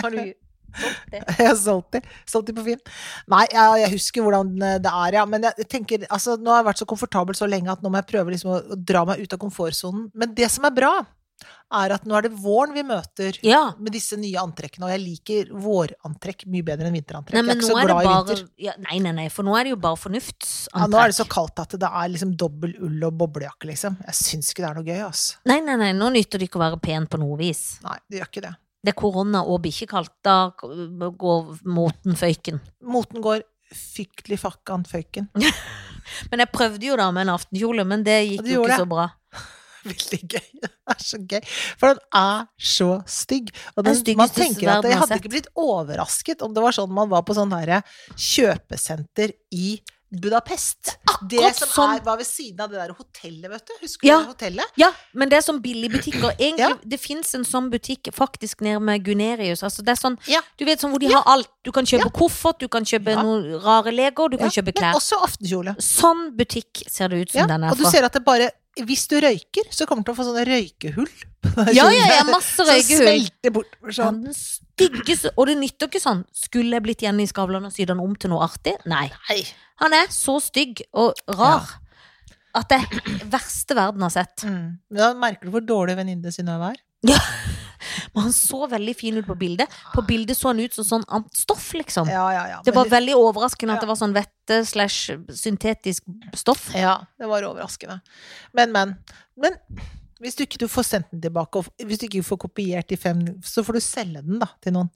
S2: Har du det?
S1: Jeg har solgt de. Solgt de på Finn. Nei, jeg, jeg husker hvordan eh, det er, ja. Men jeg tenker, altså, nå har jeg vært så komfortabel så lenge at nå må jeg prøve liksom å, å dra meg ut av komfortsonen. Men det som er bra, er at nå er det våren vi møter.
S2: Ja.
S1: Med disse nye antrekkene, og jeg liker vårantrekk mye bedre enn vinterantrekk.
S2: Nei,
S1: jeg
S2: men
S1: er
S2: nå
S1: ikke så
S2: er det
S1: glad i
S2: bare
S1: vinter.
S2: ja, Nei, nei, nei, for nå er det jo bare
S1: Ja, nå er det så
S2: fornuftsantrekk.
S1: kaldt at det er liksom dobbel ull og boblejakke, liksom. Jeg syns ikke det er noe gøy, altså.
S2: Nei, nei, nei, nå nytter det ikke å være pen på noe vis.
S1: Nei, det gjør ikke det.
S2: Det er korona og bikkjekaldt. Da går moten føyken.
S1: Moten går fyktelig fakkan føyken.
S2: Men jeg prøvde jo da med en aftenkjole, men det
S1: Og
S2: gikk
S1: du
S2: jo
S1: gjorde
S2: ikke
S1: det?
S2: så bra.
S1: Veldig gøy. Det er så gøy. For den er så stygg. Og
S2: Den
S1: den,
S2: styggeste
S1: man tenker at
S2: verden
S1: jeg
S2: har
S1: hadde ikke blitt overrasket om det var sånn man var på sånn herre kjøpesenter i Budapest. Det
S2: akkurat
S1: som
S2: sånn.
S1: er, var ved siden av det der hotellet, vet du. Husker
S2: Ja.
S1: du det hotellet?
S2: Ja, men det er sånn billigbutikker. Egentlig,
S1: Ja.
S2: Det fins en sånn butikk faktisk nede med Gunerius. Altså, det er sånn,
S1: Ja.
S2: Du vet sånn hvor de har alt. Du kan kjøpe koffert, du kan kjøpe
S1: Ja.
S2: noen rare leger, du kan
S1: Ja,
S2: kjøpe
S1: Men
S2: klær.
S1: også aftenkjole.
S2: Sånn butikk ser det ut som
S1: Ja.
S2: den
S1: Og
S2: er
S1: du
S2: fra.
S1: ser at det bare Hvis du røyker, så kommer du til å få sånne røykehull. på den
S2: Ja, ja,
S1: kjolen.
S2: ja, masse
S1: Som
S2: røykehull.
S1: smelter bortover
S2: Ja,
S1: sånn.
S2: den styggeste Og det nytter ikke sånn. Skulle jeg blitt Jenny Skavlan og sydd den om til noe artig? Nei.
S1: Nei.
S2: Han er så stygg og rar at det er verste verden har sett.
S1: Mm. Da merker du hvor dårlig venninne Synnøve er.
S2: Men han så veldig fin ut på bildet. På bildet så han ut som sånn annet stoff, liksom.
S1: Ja, ja, ja.
S2: Det
S1: Men
S2: var veldig overraskende
S1: Ja.
S2: at det var sånn vette slash syntetisk stoff.
S1: Ja, det var overraskende. Men, men. Men hvis du ikke du får sendt den tilbake, og hvis du ikke får kopiert de fem, så får du selge den da, til noen.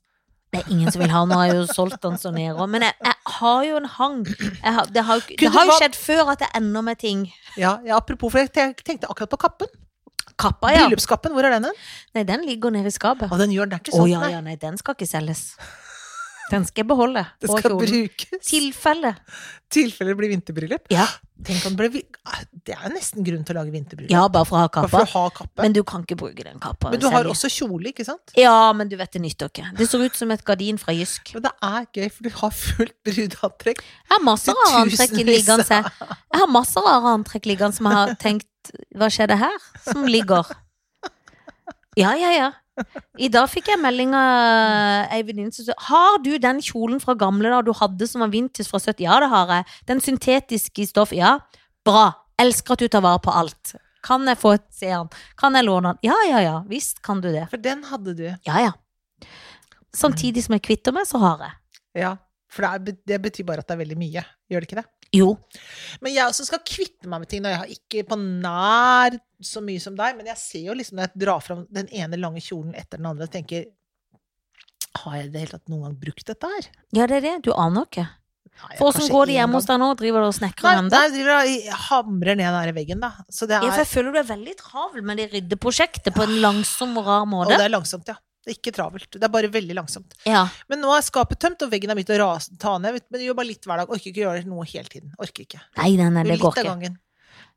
S2: Det er ingen som vil ha den, nå har jeg jo solgt den så nede òg. Men jeg, jeg har jo en hang. Jeg har, det har, jo ikke- det
S1: Kunne
S2: har jo
S1: hva-
S2: skjedd før at jeg ender med ting.
S1: Ja, ja, apropos, for jeg tenk- tenkte akkurat på kappen.
S2: Kappa, ja.
S1: Bryllupskappen, hvor er den hen?
S2: Nei, den ligger nede i skapet.
S1: Å, den gjør den er ikke
S2: Å
S1: sånn,
S2: ja,
S1: nei.
S2: ja, nei, den skal ikke selges. Den skal jeg beholde.
S1: Det
S2: og
S1: skal
S2: kjolen.
S1: brukes. I
S2: Tilfelle.
S1: tilfelle det blir vinterbryllup.
S2: Ja.
S1: Tenk om det, blir, vi- ah, det er nesten grunn til å lage vinterbryllup.
S2: ja, bare for å ha
S1: Bare for
S2: kappa.
S1: å ha kappe. Men,
S2: Men du kan ikke bruke den kappa.
S1: du har
S2: selv.
S1: også kjole, ikke sant?
S2: Ja, men du vet det nytter ikke. Det ser ut som et gardin fra Jysk.
S1: Men det er gøy, for du har fullt brudantrekk.
S2: Jeg har masse
S1: Det er
S2: rare antrekk
S1: tusenvis
S2: liggende. Jeg har masse rare antrekk liggende som jeg har tenkt Hva skjedde her? Som ligger. Ja, ja, ja. I dag fikk jeg melding av ei venninne som sa Har du den kjolen fra gamle da du hadde som var vintage fra 70? Ja, det har jeg. Den syntetiske i stoff. Ja. Bra. Elsker at du tar vare på alt. Kan jeg få et se den? Kan jeg låne den? Ja, ja, ja. Visst kan du det.
S1: For den hadde du.
S2: Ja, ja. Samtidig som jeg kvitter meg, så har jeg.
S1: Ja. For det, er, be- det betyr bare at det er veldig mye. Gjør det ikke det?
S2: Jo.
S1: Men jeg også skal kvitte meg med ting. Og jeg har ikke på nær så mye som deg, men jeg ser jo liksom når jeg drar fram den ene lange kjolen etter den andre og tenker Har jeg i det hele tatt noen gang brukt dette her?
S2: Ja, det er det. Du aner ikke.
S1: Nei, jeg-
S2: For åssen
S1: kanskje
S2: går det
S1: en
S2: hjemme hos
S1: gang.
S2: deg nå? Driver du og
S1: Nei,
S2: snekrer ennå?
S1: nei, jeg driver og jeg hamrer ned den der veggen, da. Så det
S2: Ja, for
S1: er,
S2: jeg føler du er veldig travel med det ryddeprosjektet på en langsom og rar
S1: og
S2: måte.
S1: det er langsomt, ja. Det er ikke travelt. Det er bare veldig langsomt.
S2: Ja.
S1: Men nå er skapet tømt, og veggen har begynt å rase, ta ned. vet du, Men jeg gjør bare litt hver dag. Orker ikke gjøre noe hele tiden. Orker ikke.
S2: Nei, nei,
S1: Jo,
S2: nei, det
S1: litt
S2: går
S1: av
S2: ikke.
S1: gangen.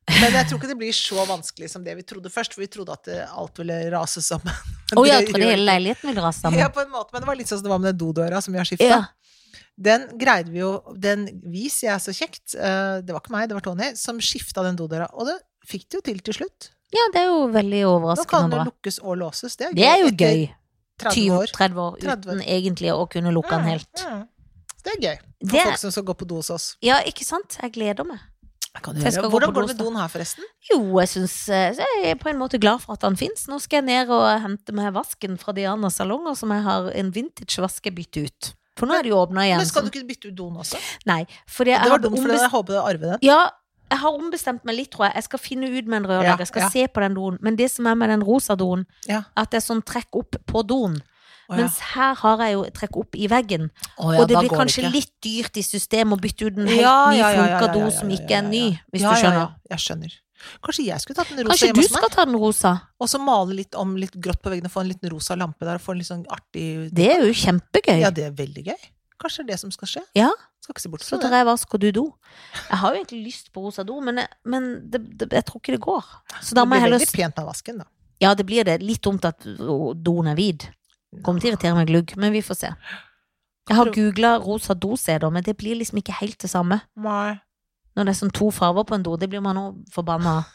S1: Men jeg tror ikke det blir så vanskelig som det vi trodde først, for vi trodde at eh, alt ville rase sammen.
S2: Å ja,
S1: Det
S2: jeg trodde
S1: gjør
S2: hele leiligheten ville rase
S1: Ja,
S2: sammen.
S1: på en måte, men det var litt sånn som det var med den dodøra som vi har skifta.
S2: Ja.
S1: Den greide vi jo Den vi sier er så kjekt, eh, det var ikke meg, det var Tony, som skifta den dodøra. Og det fikk det jo til til slutt.
S2: ja, det er jo veldig
S1: Nå kan
S2: overraskende
S1: den
S2: bra.
S1: lukkes og låses. Det er,
S2: Det er jo
S1: Etter
S2: gøy.
S1: 30 år.
S2: 20-30 år
S1: 30 år.
S2: uten egentlig å kunne lukke den helt.
S1: Mm, mm. Det er gøy. For
S2: Det,
S1: folk som skal gå på do hos oss.
S2: ja, ikke sant? Jeg gleder meg.
S1: Kan
S2: du gjøre.
S1: Hvordan
S2: Hvordan
S1: går
S2: går
S1: det med doen her, forresten?
S2: Jo, jeg syns Jeg er på en måte glad for at den fins. Nå skal jeg ned og hente meg vasken fra Dianas salonger, som jeg har en vintage-vask jeg bytter ut. For nå er det jo åpna igjen.
S1: Men skal du ikke bytte ut doen også?
S2: så- Nei, fordi jeg
S1: Det var
S2: hadde
S1: dumt, for
S2: ombest-
S1: jeg håper du arver den.
S2: Ja, jeg har ombestemt meg litt, tror jeg. Jeg skal finne ut med en rørlegger.
S1: Ja,
S2: jeg skal
S1: ja.
S2: se på den doen. Men det som er med den rosa doen,
S1: Ja.
S2: at det er sånn trekk opp på doen.
S1: Å, ja.
S2: Mens her har jeg jo trekk opp i veggen.
S1: Å, ja,
S2: og det
S1: da
S2: blir
S1: går
S2: kanskje
S1: ikke.
S2: litt dyrt i systemet å bytte ut en helt
S1: Ja,
S2: ny
S1: ja, ja, ja,
S2: funka
S1: ja,
S2: do
S1: ja,
S2: som
S1: ja,
S2: ikke
S1: ja,
S2: er
S1: ja.
S2: ny,
S1: Ja,
S2: hvis du
S1: ja, ja.
S2: skjønner.
S1: Jeg skjønner. Kanskje jeg skulle tatt en rosa
S2: Kanskje
S1: hjemme
S2: du
S1: hos
S2: skal
S1: meg?
S2: ta den rosa?
S1: Og så male litt om litt grått på veggen og få en liten rosa lampe der og få en litt sånn artig
S2: Det er jo kjempegøy.
S1: Ja, det er veldig gøy. Kanskje det er det som skal skje.
S2: Ja.
S1: Skal ikke se bort
S2: Så
S1: fra
S2: tar
S1: det.
S2: jeg vask og du do. Jeg har jo egentlig lyst på rosa do, men, jeg- men det, det, jeg tror ikke det går. Så da
S1: Det
S2: må
S1: blir
S2: jeg heller
S1: veldig pent med vasken, da.
S2: Ja, det blir det. Litt dumt at doen er vid. Kommer til å irritere meg glugg, men vi får se. Jeg har googla rosa do-CD-er, men det blir liksom ikke helt det samme.
S1: Nei.
S2: Når det er sånn to farger på en do, det blir man jo forbanna av.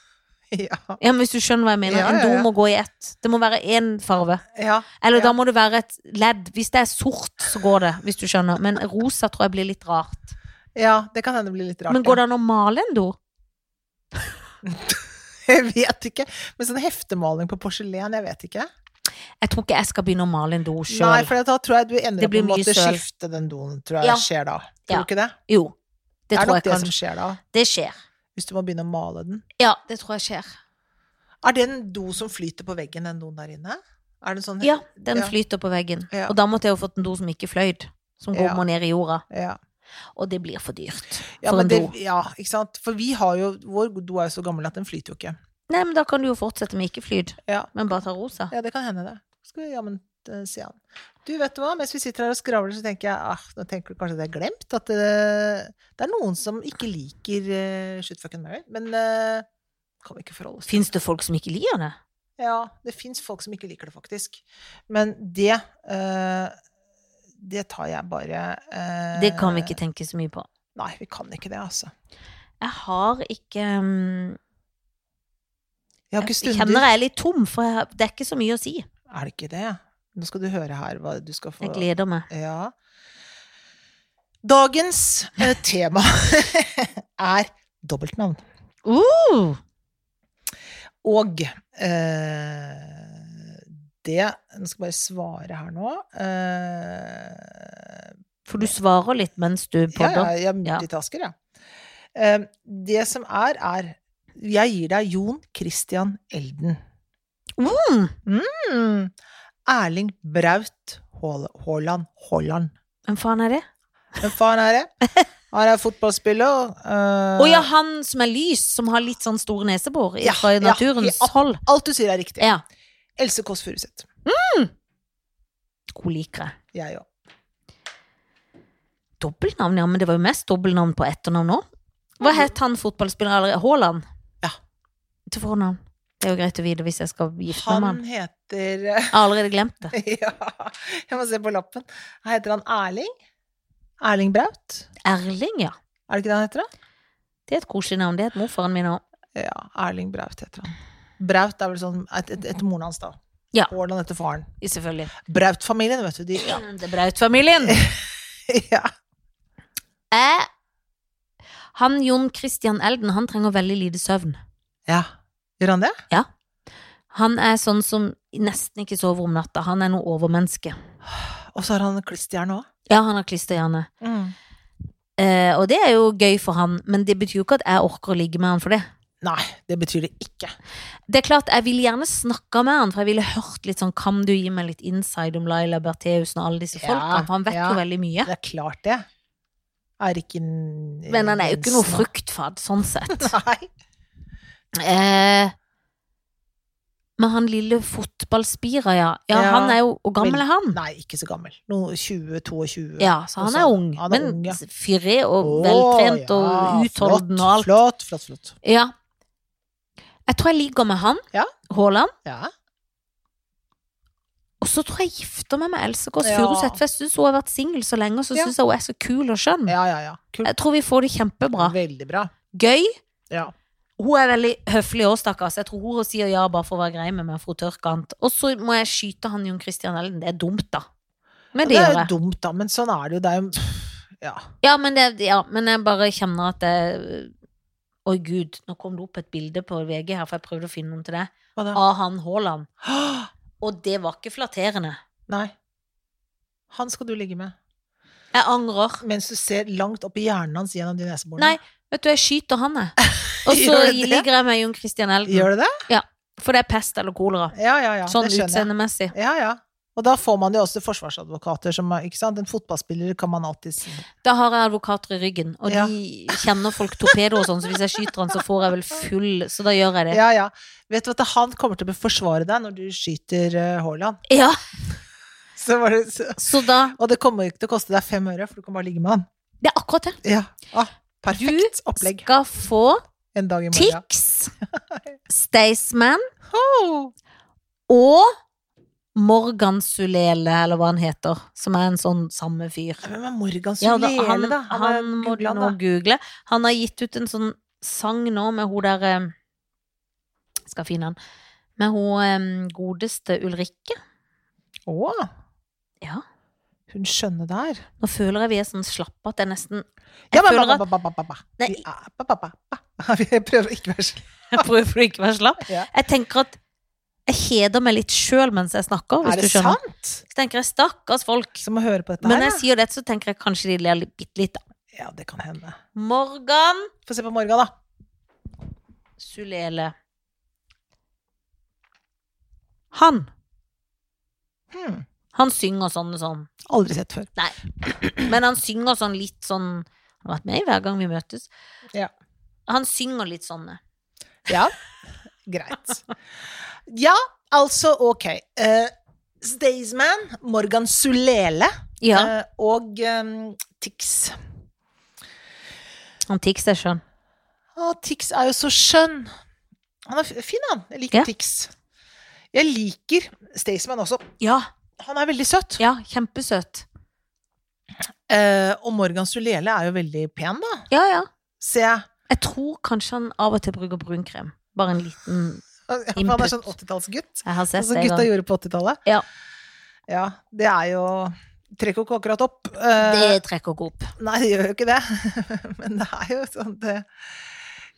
S1: Ja.
S2: Ja, men hvis du skjønner hva jeg mener,
S1: Ja,
S2: en
S1: ja,
S2: do
S1: ja.
S2: må gå i ett. Det må være én farge.
S1: ja.
S2: Eller
S1: Ja.
S2: da må det være et ledd. Hvis det er sort, så går det, hvis du skjønner. Men rosa tror jeg blir litt rart.
S1: Ja, det kan hende det blir litt rart.
S2: Men går det an å male en do?
S1: Jeg vet ikke. Men sånn heftemaling på porselen, jeg vet ikke.
S2: Jeg tror ikke jeg skal begynne å male en do
S1: Nei,
S2: sjøl.
S1: for da tror jeg du ender
S2: Det
S1: opp
S2: blir
S1: med å
S2: mye
S1: måtte
S2: søl.
S1: skifte den doen, tror jeg
S2: Ja.
S1: skjer da. Tror
S2: Ja.
S1: du ikke det?
S2: Jo. Det
S1: Det er
S2: tror
S1: nok
S2: jeg
S1: det som
S2: kanskje.
S1: skjer da,
S2: Det skjer.
S1: hvis du må begynne å male den.
S2: Ja, det tror jeg skjer.
S1: Er det en do som flyter på veggen, den doen der inne? Er det en sånn
S2: Ja, den
S1: Ja.
S2: flyter på veggen.
S1: Ja.
S2: Og da måtte jeg jo fått en do som ikke fløyd. Som
S1: Ja.
S2: går må ned i jorda.
S1: Ja.
S2: Og det blir for dyrt
S1: Ja,
S2: for
S1: men
S2: en
S1: det,
S2: do.
S1: ja, ikke sant? For vi har jo Vår do er jo så gammel at den flyter jo ikke.
S2: Nei, men da kan du jo fortsette med ikke flyd,
S1: Ja,
S2: men bare ta rosa.
S1: ja det kan hende, det. Skal vi jammen eh, se an. Du, vet du hva, mens vi sitter her og skravler, så tenker jeg ah, nå tenker du kanskje det er glemt. At det, det er noen som ikke liker uh, Shoot fucking Mary, men eh, kan vi ikke forholde oss til
S2: Fins det folk som ikke liker det?
S1: Ja, det fins folk som ikke liker det, faktisk. Men det eh, Det tar jeg bare eh,
S2: Det kan vi ikke tenke så mye på.
S1: Nei, vi kan ikke det, altså.
S2: Jeg har ikke um,
S1: Jeg har ikke
S2: Jeg
S1: stunder.
S2: kjenner jeg er litt tom, for jeg, har- det er ikke så mye å si.
S1: Er det ikke det? Nå skal du høre her hva du skal få
S2: Jeg gleder meg.
S1: Ja. Dagens eh, tema er dobbeltnavn.
S2: Uh!
S1: Og eh, det Nå skal jeg bare svare her nå. Eh,
S2: For du svarer litt mens du
S1: Ja, ja,
S2: podder.
S1: jeg multitasker, ja. Eh, Det som er, er Jeg gir deg Jon Christian Elden.
S2: Mm!
S1: Mm. Erling Braut Haal- Haaland. Haaland.
S2: Hvem faen er det?
S1: Hvem faen er det? Han er fotballspiller. eh,
S2: Å ja, han som er lys, som har litt sånn store nesebor i-
S1: Ja,
S2: fra
S1: ja,
S2: naturens
S1: ja.
S2: hold.
S1: Alt du sier, er riktig.
S2: Ja.
S1: Else Kåss Furuseth.
S2: Hun liker det.
S1: Jeg òg.
S2: Dobbeltnavn, ja, men det var jo mest dobbeltnavn på etternavn nå. Hva het han fotballspilleren allerede? Haaland?
S1: Ja.
S2: Du får navn. Det er jo greit å vite hvis jeg skal gifte meg med han.
S1: Han heter eh,
S2: Jeg har allerede glemt det.
S1: Ja, jeg må se på lappen. Her heter han Erling. Erling Braut.
S2: Erling, ja.
S1: Er det ikke det han heter, da?
S2: Det er et koselig navn. Det het morfaren min òg.
S1: Ja, Erling Braut heter han. Braut er vel sånn et, et, etter moren hans, da.
S2: Ja.
S1: Haaland etter faren.
S2: Selvfølgelig. Mm,
S1: Braut-familien, vet du. De, ja.
S2: Det er Braut-familien.
S1: ja.
S2: Jeg Han Jon Christian Elden, han trenger veldig lite søvn.
S1: ja. Gjør han det?
S2: Han er sånn som nesten ikke sover om natta. Han er noe overmenneske.
S1: Og så har han en klisterhjerne òg.
S2: Ja, han har klisterhjerne. Eh, og det er jo gøy for han, men det betyr jo ikke at jeg orker å ligge med han for det.
S1: Nei, det betyr det ikke.
S2: Det er klart, Jeg ville gjerne snakka med han, for jeg ville hørt litt sånn Kan du gi meg litt inside om Laila Bertheussen og alle disse
S1: Ja,
S2: folka? For han vet
S1: ja.
S2: jo veldig mye.
S1: Det er klart, det. Er ikke en-
S2: Men han er jo ikke noe
S1: Jensen.
S2: fruktfad, sånn sett.
S1: Nei.
S2: Eh, men han lille fotballspira, ja. ja.
S1: Ja.
S2: Han er jo Hvor gammel er han?
S1: Nei, ikke så gammel. Noe 20-22.
S2: Ja, så han
S1: Også-
S2: er ung.
S1: Altså, han er
S2: Men
S1: ung, ja.
S2: fyrig og
S1: Å,
S2: veltrent
S1: ja,
S2: og utholden og alt.
S1: Flott, flott, flott. flott.
S2: Ja. Jeg tror jeg ligger med han,
S1: Ja.
S2: Haaland,
S1: Ja.
S2: og så tror jeg jeg gifter meg med Else Kåss
S1: Ja.
S2: Furuseth, for jeg syns hun har vært singel så lenge, og så
S1: Ja.
S2: syns jeg hun er så kul og skjønn.
S1: ja, ja, ja. Kult.
S2: Jeg tror vi får det kjempebra.
S1: Veldig bra.
S2: Gøy.
S1: Ja.
S2: Hun er veldig høflig òg, stakkars. Jeg tror hun sier ja bare for å være grei med meg, for hun tør ikke annet. Og så må jeg skyte han Jon Christian Elden. Det er dumt, da. Men det,
S1: det er
S2: gjør
S1: jo
S2: jeg.
S1: dumt, da, men sånn er det jo. Det er jo Ja.
S2: Ja men, det, ja, men jeg bare kjenner at jeg Oi, gud, nå kom det opp et bilde på VG her, for jeg prøvde å finne noen til deg,
S1: Hva da?
S2: av han Haaland.
S1: Åh,
S2: Og det var ikke flatterende.
S1: Nei. Han skal du ligge med.
S2: Jeg angrer.
S1: Mens du ser langt opp i hjernen hans gjennom de neseborene.
S2: Nei, vet du, jeg skyter han, jeg. Og så
S1: Gjør du det?
S2: ligger jeg med Jon Christian Elden.
S1: Gjør du det?
S2: For det er pest eller kolera.
S1: Ja, ja, ja.
S2: Sånn
S1: det skjønner jeg.
S2: utseendemessig.
S1: Ja, ja. Og da får man jo også forsvarsadvokater som er- ikke sant? En fotballspiller kan man alltid si.
S2: Da har jeg advokater i ryggen, og
S1: Ja.
S2: de kjenner folk torpedo og sånn, så hvis jeg skyter han, så får jeg vel full Så da gjør jeg det.
S1: Ja, ja. Vet du at han kommer til å forsvare deg når du skyter eh, Haaland?
S2: Ja,
S1: Så var det, så,
S2: så da
S1: og det kommer ikke til å koste deg fem øre, for du kan bare ligge med han.
S2: Det er akkurat det.
S1: Ja. Ah, perfekt opplegg
S2: Skal få
S1: en dag i morgen.
S2: Tix, Staysman
S1: Oh,
S2: og Morgan Sulele, eller hva han heter, som er en sånn samme fyr.
S1: hvem er Morgan
S2: Ja, da,
S1: Sulele,
S2: han,
S1: da?
S2: han,
S1: er
S2: må du
S1: Gudland,
S2: nå
S1: da.
S2: google. Han har gitt ut en sånn sang nå med hun der eh, Skal finne han. Med hun eh, godeste Ulrikke.
S1: Å,
S2: Ja.
S1: hun skjønne der.
S2: Nå føler jeg vi er sånn slappe at jeg nesten
S1: Ja,
S2: Jeg
S1: ba,
S2: føler
S1: ba,
S2: at
S1: ba, ba, ba, ba, ba.
S2: Nei.
S1: Vi er ba, ba, ba, ba. Jeg prøver å ikke være slik.
S2: Jeg prøver å ikke være slapp.
S1: Ja.
S2: Jeg tenker at jeg kjeder meg litt sjøl mens jeg snakker,
S1: Er
S2: hvis
S1: det
S2: du skjønner.
S1: sant?
S2: Så tenker jeg stakkars folk.
S1: Som å høre på dette
S2: Men når
S1: her,
S2: jeg sier det, så tenker jeg kanskje de ler litt- bitte litt, da.
S1: da. Ja, det kan hende.
S2: Morgan
S1: Få se på Morgan, da.
S2: Sulele. Han.
S1: Hmm.
S2: Han synger sånn og sånn.
S1: Aldri sett før.
S2: Nei. Men han synger sånn litt sånn Han har vært med i hver gang vi møtes.
S1: Ja.
S2: Han synger litt sånn.
S1: Ja, greit. Ja, altså, ok. Eh, Staysman, Morgan Sulele
S2: Ja.
S1: eh, og eh, Tix.
S2: Han Tix er skjønn.
S1: Å, Tix er jo så skjønn. Han er f- fin, han. Jeg liker
S2: Ja.
S1: Tix. Jeg liker Staysman også.
S2: Ja,
S1: Han er veldig søt.
S2: ja, kjempesøt.
S1: Eh, og Morgan Sulele er jo veldig pen, da.
S2: Ja, ja.
S1: Ser jeg.
S2: Jeg tror kanskje han av og til bruker brunkrem. Bare en liten
S1: Han han
S2: Input.
S1: er sånn 80-tallsgutt.
S2: Jeg har
S1: Sånn
S2: sett
S1: som
S2: det.
S1: gutta
S2: jeg
S1: gjorde på 80-tallet.
S2: Ja.
S1: ja. Det er jo Trekker jo ikke akkurat opp.
S2: også.
S1: Eh,
S2: Det trekker ikke opp.
S1: Nei, det gjør jo ikke det. Men det er jo sånn det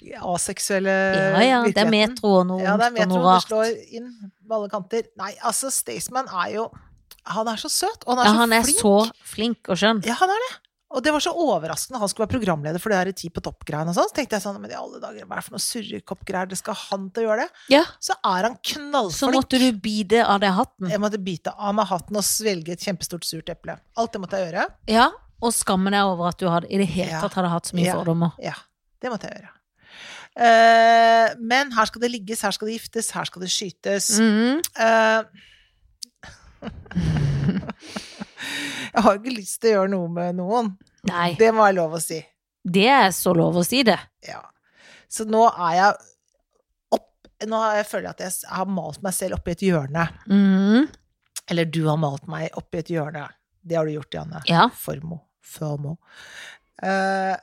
S1: aseksuelle
S2: Ja, ja. Det er
S1: virkeligheten.
S2: metro og noe
S1: Ja, det er
S2: ondt og
S1: metro.
S2: noe
S1: Det
S2: rart.
S1: slår inn på alle kanter. Nei, altså, Staysman er jo Han er så søt, og han er
S2: Ja,
S1: så
S2: han er
S1: flink.
S2: så flink og skjønn.
S1: Ja, han er det. Og det var så overraskende. Han skulle være programleder for det der Ti på topp-greiene og sånn. Så tenkte jeg sånn, men i alle dager, hva er det for noe surrekopp-greier? Det skal han til å gjøre det?
S2: Ja.
S1: Så er han
S2: Så
S1: knallflink.
S2: måtte du bite av deg hatten.
S1: Jeg måtte bite av meg hatten og svelge et kjempestort surt eple. Alt det måtte jeg gjøre.
S2: Ja, og skamme deg over at du hadde, i det hele
S1: Ja.
S2: tatt hadde hatt så mye
S1: Ja.
S2: fordommer.
S1: Ja, det måtte jeg gjøre. Eh, men her skal det ligges, her skal det giftes, her skal det skytes.
S2: Mhm.
S1: Eh, jeg har jo ikke lyst til å gjøre noe med noen.
S2: Nei,
S1: Det må være lov å si.
S2: det er så lov å si det.
S1: Ja. Så nå er jeg opp Nå har jeg føler jeg at jeg s- har malt meg selv opp i et hjørne.
S2: Mhm.
S1: Eller du har malt meg opp i et hjørne. Det har du gjort, Janne.
S2: Ja.
S1: Formo. Formo. Eh,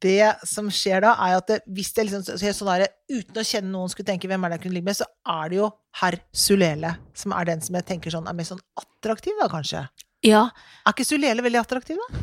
S1: det som skjer da, er at det, hvis jeg liksom så- så jeg sånn der, uten å kjenne noen skulle tenke hvem er det jeg kunne ligge med, så er det jo herr Sulele som er den som jeg tenker sånn er mest sånn attraktiv, da kanskje.
S2: ja.
S1: Er ikke Sulele veldig attraktiv, da?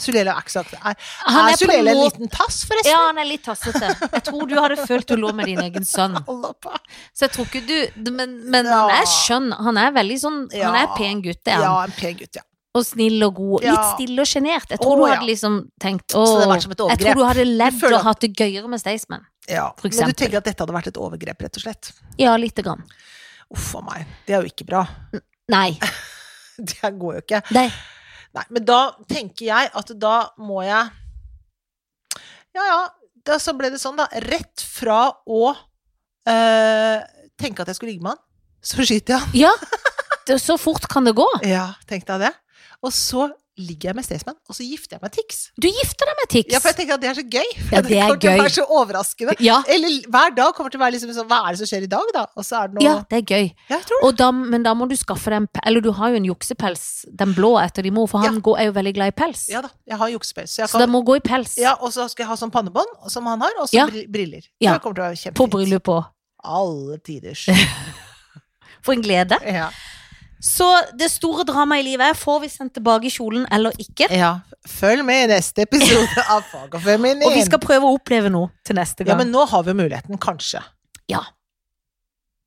S1: Sulele er ikke så attraktiv. Er,
S2: Han
S1: er
S2: er på en
S1: Sulele en
S2: måte-
S1: liten tass, forresten?
S2: Ja, han er litt tassete. Jeg tror du hadde følt du lå med din egen sønn.
S1: Hold opp, da.
S2: Så jeg tror ikke du du- Men, men han er skjønn. Han er veldig sånn Han er
S1: Ja.
S2: pen gutt, det er han.
S1: Ja, en pen gutt, ja.
S2: Og snill og god. Litt
S1: Ja.
S2: stille og sjenert. Jeg
S1: Å,
S2: tror du
S1: ja.
S2: hadde liksom tenkt
S1: Så det
S2: Åh,
S1: har vært som et
S2: jeg
S1: overgrep.
S2: tror du hadde levd
S1: føler
S2: og
S1: at-
S2: hatt det gøyere med Staysman.
S1: Ja,
S2: For
S1: men
S2: eksempel.
S1: du tenker at dette hadde vært et overgrep, rett og slett?
S2: Ja, lite grann.
S1: Uff a meg, det er jo ikke bra.
S2: Nei.
S1: Det her går jo ikke.
S2: Nei.
S1: Nei, men da tenker jeg at da må jeg Ja ja, da så ble det sånn, da. Rett fra å eh, tenke at jeg skulle ligge med han, så skyter jeg han.
S2: Ja. Det, så fort kan det gå.
S1: Ja, tenkte jeg det. Og så ligger jeg med Staysman, og så gifter jeg meg Tix.
S2: Du gifter deg med Tix.
S1: Ja, for jeg tenker at det er så gøy. For
S2: Ja, det er
S1: kommer til
S2: gøy.
S1: å være så overraskende.
S2: Ja,
S1: Eller hver dag kommer til å være liksom sånn Hva er det som skjer i dag, da? Og så er det noe
S2: ja, det er gøy.
S1: Ja, jeg tror det.
S2: Og da, men da må du skaffe deg en pe- Eller du har jo en juksepels, den blå etter din mor, for han går, er jo veldig glad i pels.
S1: Ja da, jeg har juksepels. Så jeg
S2: Så
S1: kan
S2: den må gå i pels.
S1: Ja, og så skal jeg ha sånn pannebånd som han har, og så
S2: Ja.
S1: bri- briller.
S2: Ja.
S1: Det kommer til å være kjempefint.
S2: På bryllup òg.
S1: Alle tiders.
S2: For en glede.
S1: Ja.
S2: Så det store dramaet i livet er får vi sendt tilbake kjolen eller ikke.
S1: ja. Følg med i neste episode av Fag og feminin.
S2: Og vi skal prøve å oppleve noe til neste gang.
S1: Ja, men nå har vi muligheten, kanskje.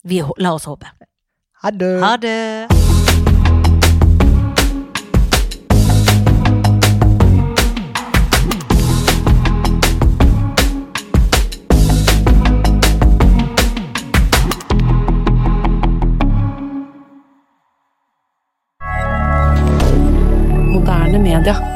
S2: vi, hå- la oss håpe.
S1: Ha det.
S2: Ha det.
S3: Moderne media.